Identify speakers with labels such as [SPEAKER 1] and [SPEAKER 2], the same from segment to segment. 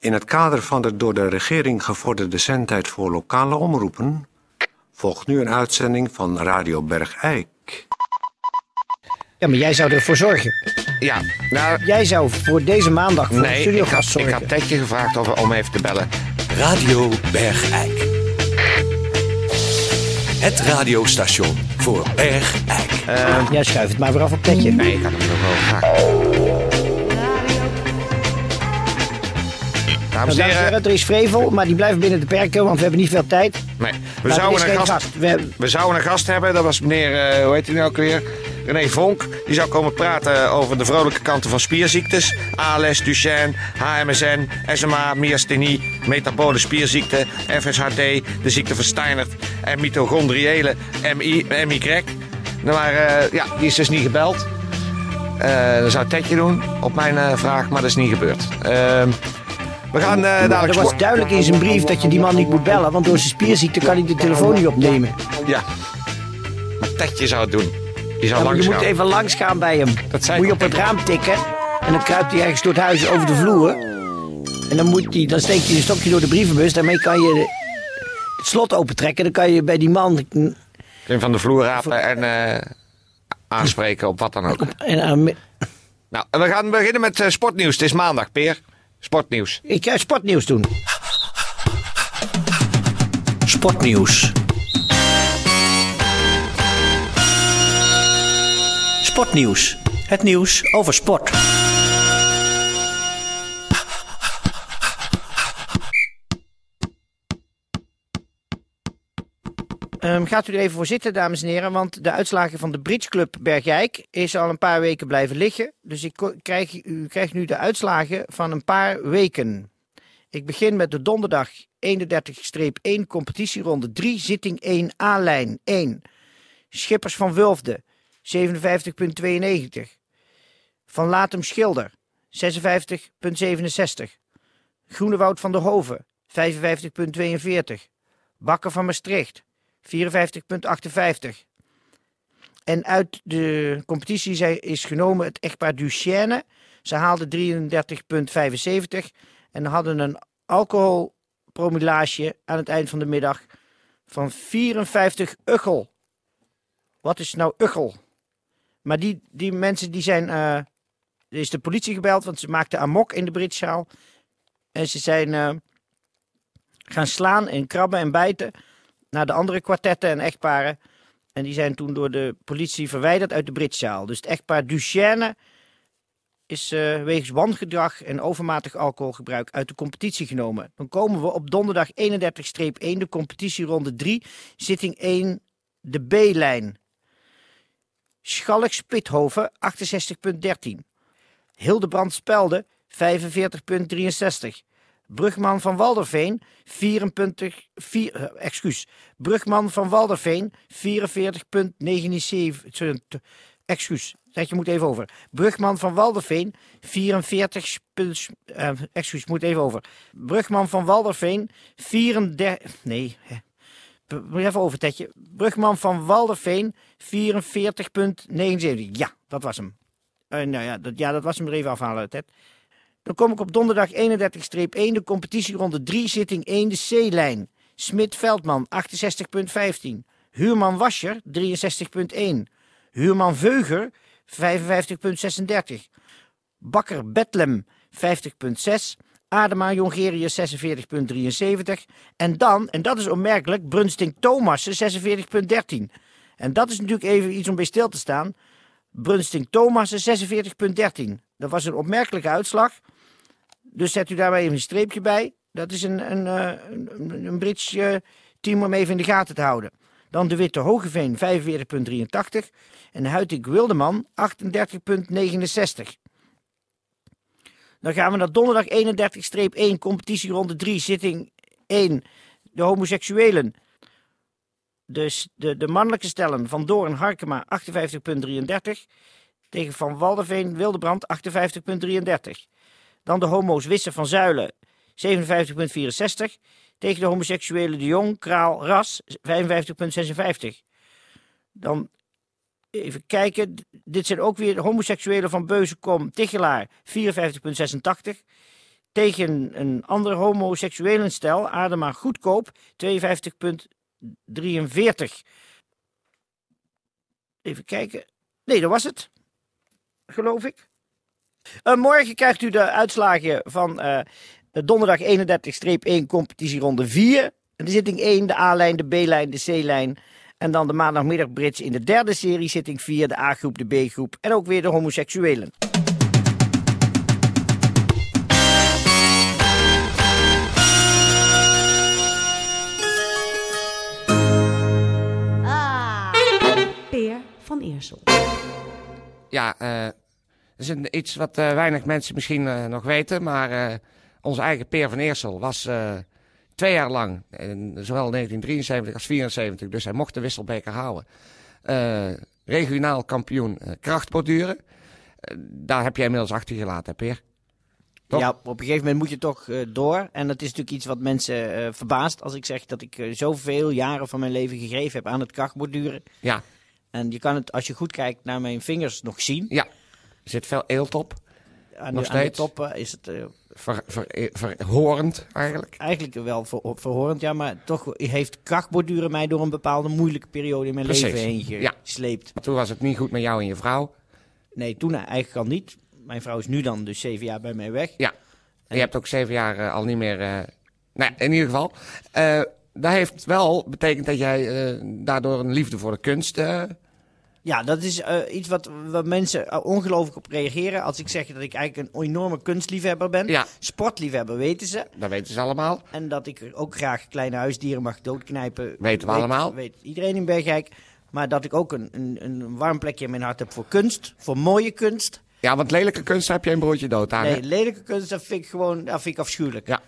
[SPEAKER 1] In het kader van de door de regering gevorderde zendtijd voor lokale omroepen volgt nu een uitzending van Radio Bergijk.
[SPEAKER 2] Ja, maar jij zou ervoor zorgen.
[SPEAKER 3] Ja, nou,
[SPEAKER 2] Jij zou voor deze maandag voor de
[SPEAKER 3] nee, ik
[SPEAKER 2] studiogast
[SPEAKER 3] had, ik
[SPEAKER 2] zorgen.
[SPEAKER 3] had Tetje gevraagd of, om even te bellen.
[SPEAKER 4] Radio Bergijk. Het radiostation voor Bergijk.
[SPEAKER 2] Jij schuift het Nou, maar weer af op Tetje.
[SPEAKER 3] eh, Nee, ik had hem nog wel gevraagd. Dames
[SPEAKER 2] Nou,
[SPEAKER 3] en
[SPEAKER 2] dames en
[SPEAKER 3] heren,
[SPEAKER 2] heren, er is Vrevel, maar die blijft binnen de perken, want we hebben niet veel tijd.
[SPEAKER 3] nee, we,
[SPEAKER 2] Maar er is
[SPEAKER 3] zouden
[SPEAKER 2] geen
[SPEAKER 3] een gast,
[SPEAKER 2] gast. We hebben-
[SPEAKER 3] we zouden een gast hebben, dat was meneer, eh, hoe heet hij nou ook weer? René Vonk, die zou komen praten over de vrolijke kanten van spierziektes. ALS, Duchenne, HMSN, SMA, myasthenie, metabole spierziekte, FSHD, de ziekte van Steinert en mitochondriële MI, MY. Nou, Maar eh, ja, die is dus niet gebeld. Eh dat zou Tedje doen op mijn eh, vraag, maar dat is niet gebeurd. Ehm, we gaan eh,
[SPEAKER 2] Nou, Er
[SPEAKER 3] dadelijk...
[SPEAKER 2] was duidelijk in zijn brief dat je die man niet moet bellen, want door zijn spierziekte kan hij de telefoon niet opnemen. Nou,
[SPEAKER 3] Ja. Maar Tetje zou het doen. Die zou
[SPEAKER 2] Ja, maar
[SPEAKER 3] langs
[SPEAKER 2] je moet
[SPEAKER 3] gaan.
[SPEAKER 2] even langsgaan bij hem.
[SPEAKER 3] Dat zei ik
[SPEAKER 2] moet je
[SPEAKER 3] ook.
[SPEAKER 2] op het raam tikken en dan kruipt hij ergens door het huis over de vloer. En dan, moet die, dan steekt hij een stokje door de brievenbus, daarmee kan je de- het slot opentrekken. Dan kan je bij die man
[SPEAKER 3] Klim van de vloer rapen en eh, aanspreken op wat dan ook.
[SPEAKER 2] En, aan-
[SPEAKER 3] Nou, en we gaan beginnen met eh, sportnieuws. Het is maandag, Peer. Sportnieuws.
[SPEAKER 2] ik
[SPEAKER 4] eh,
[SPEAKER 2] ga sportnieuws doen.
[SPEAKER 4] Sportnieuws. Sportnieuws. Het nieuws over sport.
[SPEAKER 2] Ehm, gaat u er even voor zitten, dames en heren, want de uitslagen van de Bridge Club Bergijk is al een paar weken blijven liggen. Dus ik ko- krijg, u krijgt nu de uitslagen van een paar weken. Ik begin met de donderdag 31-1 competitieronde 3, zitting 1, A-lijn 1. Schippers van Wulfde, 57,92. Van Latem Schilder, 56,67. Groenewoud van der Hoven, 55,42. Bakker van Maastricht, 54,58. En uit de competitie zij- is genomen het echtpaar Duchesne. Ze haalden 33,75 en hadden een alcoholpromillage aan het eind van de middag van 54 uggel. Wat is nou uggel? Maar die, die mensen die zijn. eh, er is de politie gebeld, want ze maakten amok in de Britszaal. En ze zijn eh, gaan slaan en krabben en bijten naar de andere kwartetten en echtparen. En die zijn toen door de politie verwijderd uit de Britszaal. Dus het echtpaar Duchesne is eh, wegens wangedrag en overmatig alcoholgebruik uit de competitie genomen. Dan komen we op donderdag 31-1, de competitieronde 3, zitting 1, de B-lijn. Schalk Spithoven, 68,13. Hildebrand Spelde, 45,63. Brugman van Walderveen 24, vier- eh, excuus. Brugman van Walderveen 44,97. Excuus, dat je moet even over. Brugman van Walderveen 44, sp- eh, excuus, moet even over. Brugman van Walderveen 34, nee. hè. B- Moet je even over, Tetje. Brugman van Walderveen 44,79. Ja, dat was hem. Eh, nou ja dat, ja, dat was hem er even afhalen, Ted. Dan kom ik op donderdag 31-1, de competitieronde 3, zitting 1, de C-lijn. Smit-Veldman, 68,15. Huurman Wascher, 63,1. Huurman Veuger, 55,36. Bakker Bethlehem, 50,6. Adema Jongerius, 46,73. En dan, en dat is opmerkelijk, Brunsting Thomassen, 46,13. En dat is natuurlijk even iets om bij stil te staan. Brunsting Thomassen 46,13. Dat was een opmerkelijke uitslag. Dus zet u daarbij even een streepje bij. Dat is een, een, eh, een, een Brits eh, team om even in de gaten te houden. Dan de Witte Hogeveen 45,83. En Huitik Wildeman 38,69. Dan gaan we naar donderdag 31-1, competitieronde 3, zitting 1. De homoseksuelen. De, s- de, de mannelijke stellen van Doorn Harkema 58,33. Tegen Van Walderveen Wildebrand 58,33. Dan de homo's Wisse van Zuilen 57,64. Tegen de homoseksuelen De Jong, Kraal, Ras 55,56. Dan even kijken. d- Dit zijn ook weer de homoseksuelen van Beuzenkom, Tichelaar 54,86. tegen een ander homoseksuelen stel, Adema Goedkoop, 52,43. Even kijken. Nee, dat was het. Geloof ik. Eh, morgen krijgt u de uitslagen van eh, donderdag 31-1 competitieronde 4. De zitting 1, de A-lijn, de B-lijn, de C-lijn. En dan de maandagmiddag Brits in de derde serie, zitting 4, de A-groep, de B-groep. En ook weer de homoseksuelen.
[SPEAKER 5] Peer van Eersel.
[SPEAKER 6] Ja, eh, dat is een, iets wat eh, weinig mensen misschien eh, nog weten. Maar eh, onze eigen Peer van Eersel was eh, twee jaar lang, in zowel 1973 als 1974, dus hij mocht de wisselbeker houden. eh, regionaal kampioen eh, krachtborduren. Eh, daar heb jij inmiddels achter gelaten, hè, Peer. Toch?
[SPEAKER 2] Ja, op een gegeven moment moet je toch eh, door. En dat is natuurlijk iets wat mensen eh, verbaast als ik zeg dat ik eh, zoveel jaren van mijn leven gegeven heb aan het krachtborduren.
[SPEAKER 6] Ja,
[SPEAKER 2] En je kan het, als je goed kijkt naar mijn vingers, nog zien.
[SPEAKER 6] ja. Er zit veel eelt op.
[SPEAKER 2] Aan,
[SPEAKER 6] Nog
[SPEAKER 2] de, aan de
[SPEAKER 6] steeds.
[SPEAKER 2] toppen is het eh,
[SPEAKER 6] Ver, ver, eh, verhorend eigenlijk.
[SPEAKER 2] eigenlijk wel ver- verhorend, ja. Maar toch heeft krachtborduren mij door een bepaalde moeilijke periode in mijn
[SPEAKER 6] Precies,
[SPEAKER 2] leven heen
[SPEAKER 6] ja.
[SPEAKER 2] gesleept.
[SPEAKER 6] Maar toen was het niet goed met jou en je vrouw.
[SPEAKER 2] Nee, toen eigenlijk al niet. Mijn vrouw is nu dan dus zeven jaar bij mij weg.
[SPEAKER 6] Ja. Je hebt ook zeven jaar eh, al niet meer. eh, nou, ja, in ieder geval. eh, dat heeft wel betekend dat jij eh, daardoor een liefde voor de kunst. eh,
[SPEAKER 2] Ja, dat is eh, iets wat, wat mensen eh, ongelooflijk op reageren. Als ik zeg dat ik eigenlijk een enorme kunstliefhebber ben.
[SPEAKER 6] Ja.
[SPEAKER 2] Sportliefhebber weten ze.
[SPEAKER 6] dat weten ze allemaal.
[SPEAKER 2] En dat ik ook graag kleine huisdieren mag doodknijpen.
[SPEAKER 6] Weten we
[SPEAKER 2] weet-
[SPEAKER 6] allemaal.
[SPEAKER 2] Weet iedereen in Bergijk. Maar dat ik ook een, een, een warm plekje in mijn hart heb voor kunst. Voor mooie kunst.
[SPEAKER 6] Ja, want lelijke kunst daar heb je een broodje dood aan. hè?
[SPEAKER 2] Nee, lelijke kunst, dat vind ik gewoon dat vind ik afschuwelijk.
[SPEAKER 6] Ja.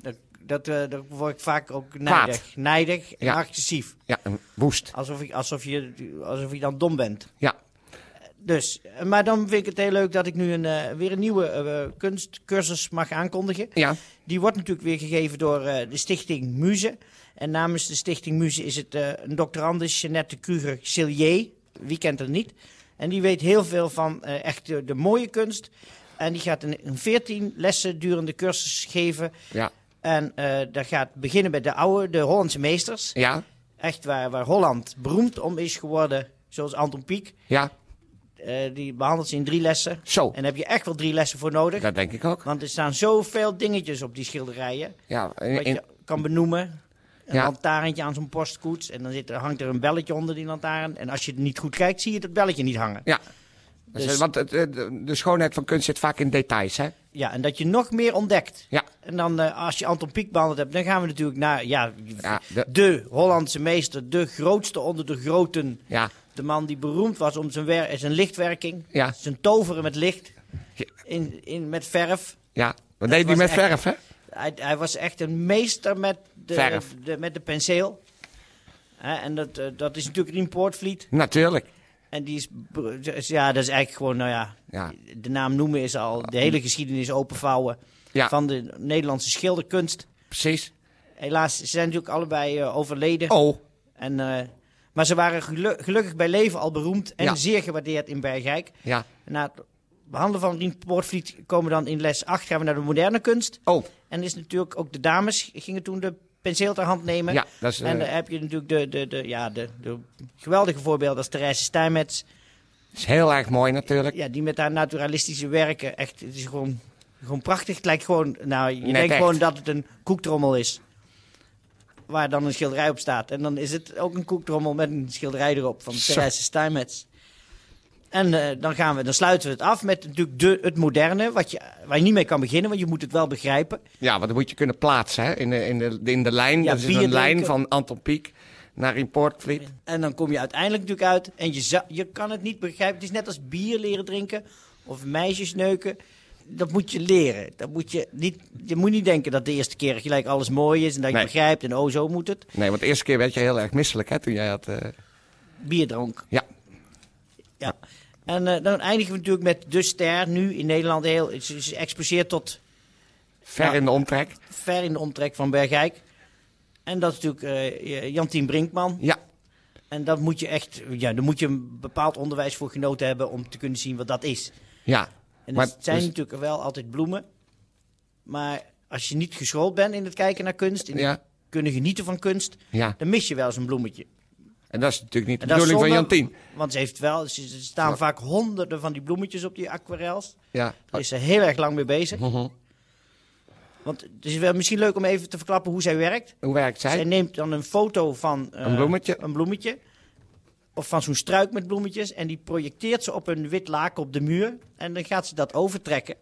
[SPEAKER 2] Dat, dat, eh, daar word ik vaak ook
[SPEAKER 6] Kwaad.
[SPEAKER 2] nijdig. Nijdig en
[SPEAKER 6] Ja.
[SPEAKER 2] agressief.
[SPEAKER 6] ja, een woest.
[SPEAKER 2] Alsof, ik, alsof, je, alsof je dan dom bent.
[SPEAKER 6] Ja.
[SPEAKER 2] Dus, eh, maar dan vind ik het heel leuk dat ik nu een, eh, weer een nieuwe eh, kunstcursus mag aankondigen.
[SPEAKER 6] ja.
[SPEAKER 2] Die wordt natuurlijk weer gegeven door eh, de Stichting Muze. En namens de Stichting Muze is het eh, een doctorande Jeannette Kruger Sillier. Wie kent haar niet? En die weet heel veel van eh, echt de, de mooie kunst. En die gaat een, een 14 lessen durende cursus geven.
[SPEAKER 6] Ja.
[SPEAKER 2] En eh dat gaat beginnen bij de oude, de Hollandse meesters.
[SPEAKER 6] Ja.
[SPEAKER 2] Echt waar, waar Holland beroemd om is geworden, zoals Anton Pieck.
[SPEAKER 6] Ja.
[SPEAKER 2] Eh, die behandelt ze in drie lessen.
[SPEAKER 6] Zo.
[SPEAKER 2] En daar heb je echt wel drie lessen voor nodig.
[SPEAKER 6] Dat denk ik ook.
[SPEAKER 2] Want er staan zoveel dingetjes op die schilderijen.
[SPEAKER 6] Ja. in-
[SPEAKER 2] Wat
[SPEAKER 6] in-
[SPEAKER 2] je kan benoemen. Een
[SPEAKER 6] Ja.
[SPEAKER 2] lantaarntje aan zo'n postkoets. En dan zit er, hangt er een belletje onder die lantaarn. En als je niet goed kijkt, zie je dat belletje niet hangen.
[SPEAKER 6] ja. Dus,
[SPEAKER 2] Dus-
[SPEAKER 6] want het, eh, de- de schoonheid van kunst zit vaak in details, hè?
[SPEAKER 2] Ja, en dat je nog meer ontdekt.
[SPEAKER 6] Ja.
[SPEAKER 2] En dan, eh, als je Anton Pieck behandeld hebt, dan gaan we natuurlijk naar ja,
[SPEAKER 6] Ja,
[SPEAKER 2] de...
[SPEAKER 6] de-
[SPEAKER 2] Hollandse meester. De grootste onder de groten.
[SPEAKER 6] Ja.
[SPEAKER 2] De man die beroemd was om zijn, wer- zijn lichtwerking.
[SPEAKER 6] Ja.
[SPEAKER 2] Zijn toveren met licht.
[SPEAKER 6] Ja.
[SPEAKER 2] In, in, met verf.
[SPEAKER 6] Ja. Dat deed hij
[SPEAKER 2] was
[SPEAKER 6] met
[SPEAKER 2] echt-
[SPEAKER 6] verf, hè?
[SPEAKER 2] Hij, hij was echt een meester met de,
[SPEAKER 6] Verf.
[SPEAKER 2] de- met de penseel. Hè, en dat, eh, dat is natuurlijk Rien Poortvliet.
[SPEAKER 6] Natuurlijk.
[SPEAKER 2] En die is, br- dus ja, dat is eigenlijk gewoon, nou ja,
[SPEAKER 6] Ja.
[SPEAKER 2] de naam noemen is al de hele geschiedenis openvouwen
[SPEAKER 6] Ja.
[SPEAKER 2] van de Nederlandse schilderkunst.
[SPEAKER 6] Precies.
[SPEAKER 2] Helaas, ze zijn natuurlijk allebei eh, overleden.
[SPEAKER 6] Oh.
[SPEAKER 2] En, eh, maar ze waren gelu- gelukkig bij leven al beroemd en
[SPEAKER 6] Ja.
[SPEAKER 2] zeer gewaardeerd in Bergijk.
[SPEAKER 6] Ja.
[SPEAKER 2] Na het behandelen van Rien Poortvliet komen we dan in les 8 gaan we naar de moderne kunst.
[SPEAKER 6] Oh.
[SPEAKER 2] En is natuurlijk ook de dames gingen toen de penseel ter hand nemen.
[SPEAKER 6] Ja, dat is, eh,
[SPEAKER 2] en dan heb je natuurlijk de, de, de, ja, de, de geweldige voorbeelden als Therese Stijmets.
[SPEAKER 6] Is heel erg mooi natuurlijk.
[SPEAKER 2] Ja, die met haar naturalistische werken echt, het is gewoon, gewoon prachtig. Het lijkt gewoon, nou, je
[SPEAKER 6] Net
[SPEAKER 2] denkt
[SPEAKER 6] echt.
[SPEAKER 2] gewoon dat het een koektrommel is. Waar dan een schilderij op staat. En dan is het ook een koektrommel met een schilderij erop van
[SPEAKER 6] Zo.
[SPEAKER 2] Therese Stijmets. En eh, dan, gaan we, dan sluiten we het af met natuurlijk de, het moderne, wat je, waar je niet mee kan beginnen, want je moet het wel begrijpen.
[SPEAKER 6] Ja, want dan moet je kunnen plaatsen hè? In, de, in, de, in de lijn.
[SPEAKER 2] Ja,
[SPEAKER 6] dat is
[SPEAKER 2] bier
[SPEAKER 6] een lijn
[SPEAKER 2] drinken.
[SPEAKER 6] van Anton Pieck naar Importvliet.
[SPEAKER 2] En dan kom je uiteindelijk natuurlijk uit en je, za- je kan het niet begrijpen. Het is net als bier leren drinken of meisjes neuken. Dat moet je leren. Dat moet je, niet, je moet niet denken dat de eerste keer gelijk alles mooi is en dat je
[SPEAKER 6] Nee.
[SPEAKER 2] begrijpt en oh zo moet het.
[SPEAKER 6] Nee, want de eerste keer werd je heel erg misselijk hè? toen jij had. eh,
[SPEAKER 2] Bier dronk.
[SPEAKER 6] Ja,
[SPEAKER 2] Ja. En eh, dan eindigen we natuurlijk met de ster nu in Nederland heel. Ze ze exposeert tot
[SPEAKER 6] ver
[SPEAKER 2] Ja.
[SPEAKER 6] in de omtrek.
[SPEAKER 2] ver in de omtrek van Bergijk. En dat is natuurlijk eh Jantien Brinkman.
[SPEAKER 6] Ja,
[SPEAKER 2] En dat moet je echt, ja, daar moet je een bepaald onderwijs voor genoten hebben om te kunnen zien wat dat is.
[SPEAKER 6] ja.
[SPEAKER 2] En
[SPEAKER 6] Maar
[SPEAKER 2] het zijn
[SPEAKER 6] dus-
[SPEAKER 2] natuurlijk wel altijd bloemen. Maar als je niet geschoold bent in het kijken naar kunst, in het
[SPEAKER 6] Ja.
[SPEAKER 2] kunnen genieten van kunst,
[SPEAKER 6] Ja.
[SPEAKER 2] dan mis je wel eens een bloemetje.
[SPEAKER 6] En dat is natuurlijk niet de
[SPEAKER 2] En dat is
[SPEAKER 6] bedoeling van
[SPEAKER 2] zonde,
[SPEAKER 6] Jantien.
[SPEAKER 2] Want ze heeft wel, ze- er staan vaak honderden van die bloemetjes op die aquarels.
[SPEAKER 6] Ja. Oh,
[SPEAKER 2] Daar is ze heel erg lang mee bezig.
[SPEAKER 6] Mhm.
[SPEAKER 2] Want het is wel misschien leuk om even te verklappen hoe zij werkt.
[SPEAKER 6] Hoe werkt
[SPEAKER 2] Zij
[SPEAKER 6] zij?
[SPEAKER 2] neemt dan een foto van eh,
[SPEAKER 6] Een bloemetje.
[SPEAKER 2] een bloemetje. Of van zo'n struik met bloemetjes. En die projecteert ze op een wit laken op de muur. En dan gaat ze dat overtrekken.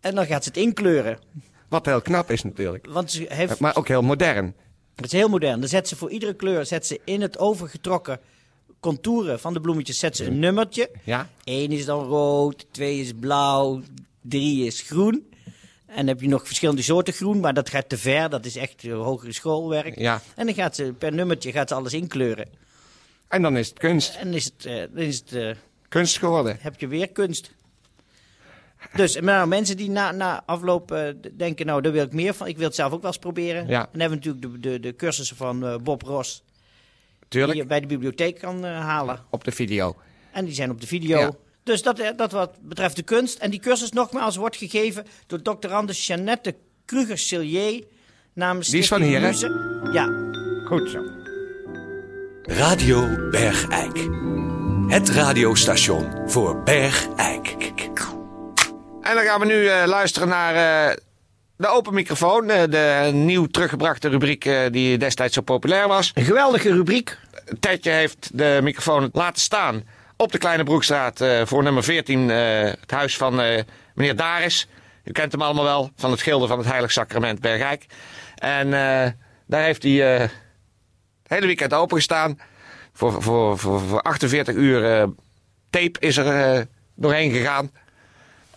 [SPEAKER 2] En dan gaat ze het inkleuren.
[SPEAKER 6] Wat heel knap is natuurlijk.
[SPEAKER 2] Want ze heeft,
[SPEAKER 6] Maar ook heel modern.
[SPEAKER 2] het is heel modern. Dan zet ze voor iedere kleur zet ze in het overgetrokken contouren van de bloemetjes zet ze een nummertje.
[SPEAKER 6] Ja?
[SPEAKER 2] Eén is dan rood, twee is blauw, drie is groen. En dan heb je nog verschillende soorten groen, maar dat gaat te ver. Dat is echt eh, hogere schoolwerk.
[SPEAKER 6] Ja.
[SPEAKER 2] En dan gaat ze per nummertje gaat ze alles inkleuren.
[SPEAKER 6] En dan is het kunst.
[SPEAKER 2] En is het, eh, dan is het, eh,
[SPEAKER 6] Kunst geworden.
[SPEAKER 2] heb je weer kunst. Dus maar nou, mensen die na, na afloop eh, d- denken, nou daar wil ik meer van. Ik wil het zelf ook wel eens proberen.
[SPEAKER 6] Ja.
[SPEAKER 2] En dan hebben we natuurlijk de, de, de cursussen van eh, Bob Ross. Die je
[SPEAKER 6] Tuurlijk.
[SPEAKER 2] bij de bibliotheek kan eh, halen.
[SPEAKER 6] Op de video.
[SPEAKER 2] En die zijn op de video.
[SPEAKER 6] Ja.
[SPEAKER 2] Dus dat, eh, dat wat betreft de kunst. En die cursus nogmaals wordt gegeven door doctorande Jeannette Kruger-Sillier. Namens
[SPEAKER 6] Die is van
[SPEAKER 2] Stichting
[SPEAKER 6] hier, hè?
[SPEAKER 2] Muse. Ja,
[SPEAKER 6] Goed zo.
[SPEAKER 7] Radio Bergijk. Het radiostation voor Bergijk.
[SPEAKER 3] En dan gaan we nu eh, luisteren naar eh, de open microfoon. eh, de nieuw teruggebrachte rubriek eh, die destijds zo populair was.
[SPEAKER 2] een geweldige rubriek.
[SPEAKER 3] Tetje heeft de microfoon laten staan op de Kleine Broekstraat eh, voor nummer 14. eh, het huis van eh, meneer Daris. U kent hem allemaal wel, van het Gilde van het Heilig Sacrament Bergijk. En eh, daar heeft hij eh, het hele weekend opengestaan. Voor, voor, voor, voor 48 uur eh, tape is er eh, doorheen gegaan.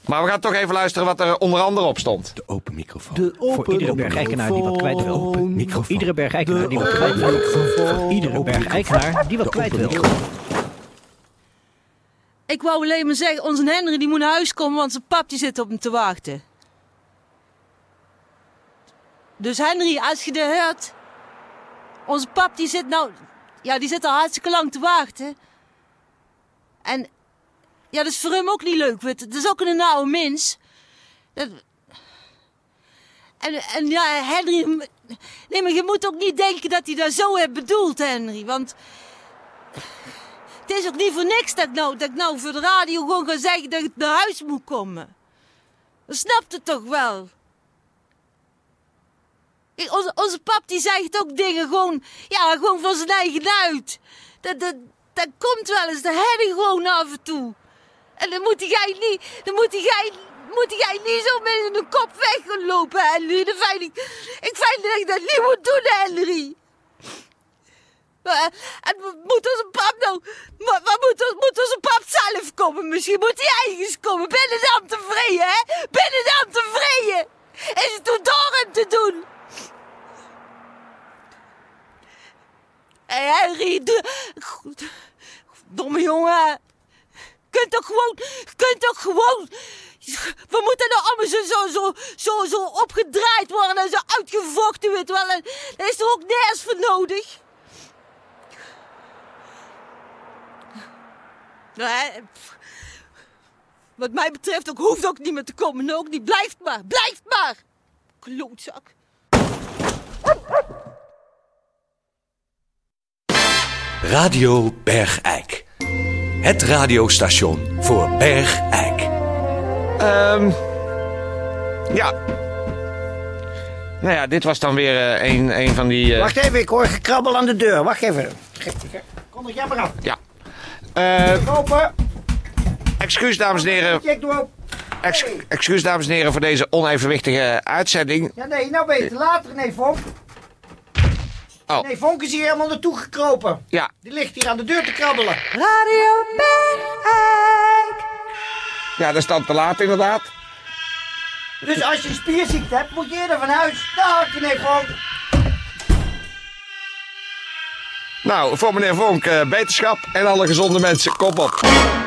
[SPEAKER 3] Maar we gaan toch even luisteren wat er onder andere op stond.
[SPEAKER 7] De open microfoon.
[SPEAKER 8] De open
[SPEAKER 4] Voor iedere bergeikenaar die wat kwijt wil.
[SPEAKER 7] open microfoon.
[SPEAKER 4] Iedere bergeikenaar die wat kwijt wil. Voor iedere bergeikenaar die wat kwijt wil.
[SPEAKER 9] Ik wou alleen maar zeggen, onze Henry die moet naar huis komen, want zijn pap die zit op hem te wachten. Dus Henry, als je dit hoort, onze pap die zit nou, ja die zit al hartstikke lang te wachten. En ja, dat is voor hem ook niet leuk, weet je. Dat is ook een nauwe mens. Dat... En, en ja, Henry, nee maar je moet ook niet denken dat hij dat zo heeft bedoeld, Henry, want... Het is ook niet voor niks dat ik nou, dat ik nou voor de radio gewoon ga zeggen dat ik naar huis moet komen. Dat snapt het toch wel? Ik- onze, onze pap die zegt ook dingen gewoon, ja, gewoon van zijn eigen uit. Dat, dat, dat komt wel eens, dat heb ik gewoon af en toe. En dan moet hij niet, dan moet hij moet hij niet zo met zijn kop weg gaan lopen, Henry. Dat vind ik, ik vind dat ik dat niet moet doen, Henry. Eh, En moet onze pap nou... Wat, wat moet, ons- moet onze pap zelf komen? Misschien moet hij ergens komen. Binnen dan tevreden, hè? Binnen dan tevreden. Is het toen door hem te doen? Hé, hey, Henry, doe... Goed. Domme jongen. Kunt toch gewoon... Kunt toch gewoon... We moeten nou allemaal zo, zo, zo, zo, zo opgedraaid worden en zo uitgevochten, weet je wel. En Daar is er ook nergens voor nodig. Nou, hè, pff. Wat mij betreft ook, hoeft ook niet meer te komen. Ook niet. Blijft maar. Blijft maar. Klootzak.
[SPEAKER 7] Radio Bergijk. Het radiostation voor Bergijk.
[SPEAKER 3] Ehm ja. Nou ja, dit was dan weer eh, een, een van die... eh,
[SPEAKER 2] Wacht even, ik hoor gekrabbel aan de deur. Wacht even. Kom er jammer af.
[SPEAKER 3] Ja. Eh,
[SPEAKER 2] Kopen.
[SPEAKER 3] excuus, dames en heren.
[SPEAKER 2] Check door.
[SPEAKER 3] Ex- excuus, dames en heren, voor deze onevenwichtige uitzending.
[SPEAKER 2] Ja, nee, nou ben je te laat, René Vonk.
[SPEAKER 3] Oh.
[SPEAKER 2] Nee, Vonk is hier helemaal naartoe gekropen.
[SPEAKER 3] Ja,
[SPEAKER 2] Die ligt hier aan de deur te krabbelen.
[SPEAKER 9] Radio Bergijk.
[SPEAKER 3] ja dat is dan te laat, inderdaad.
[SPEAKER 2] Dus als je een spierziekte hebt, moet je eerder van huis. Dag, René Vonk.
[SPEAKER 3] Nou, voor meneer Vonk, eh, beterschap en alle gezonde mensen, kop op.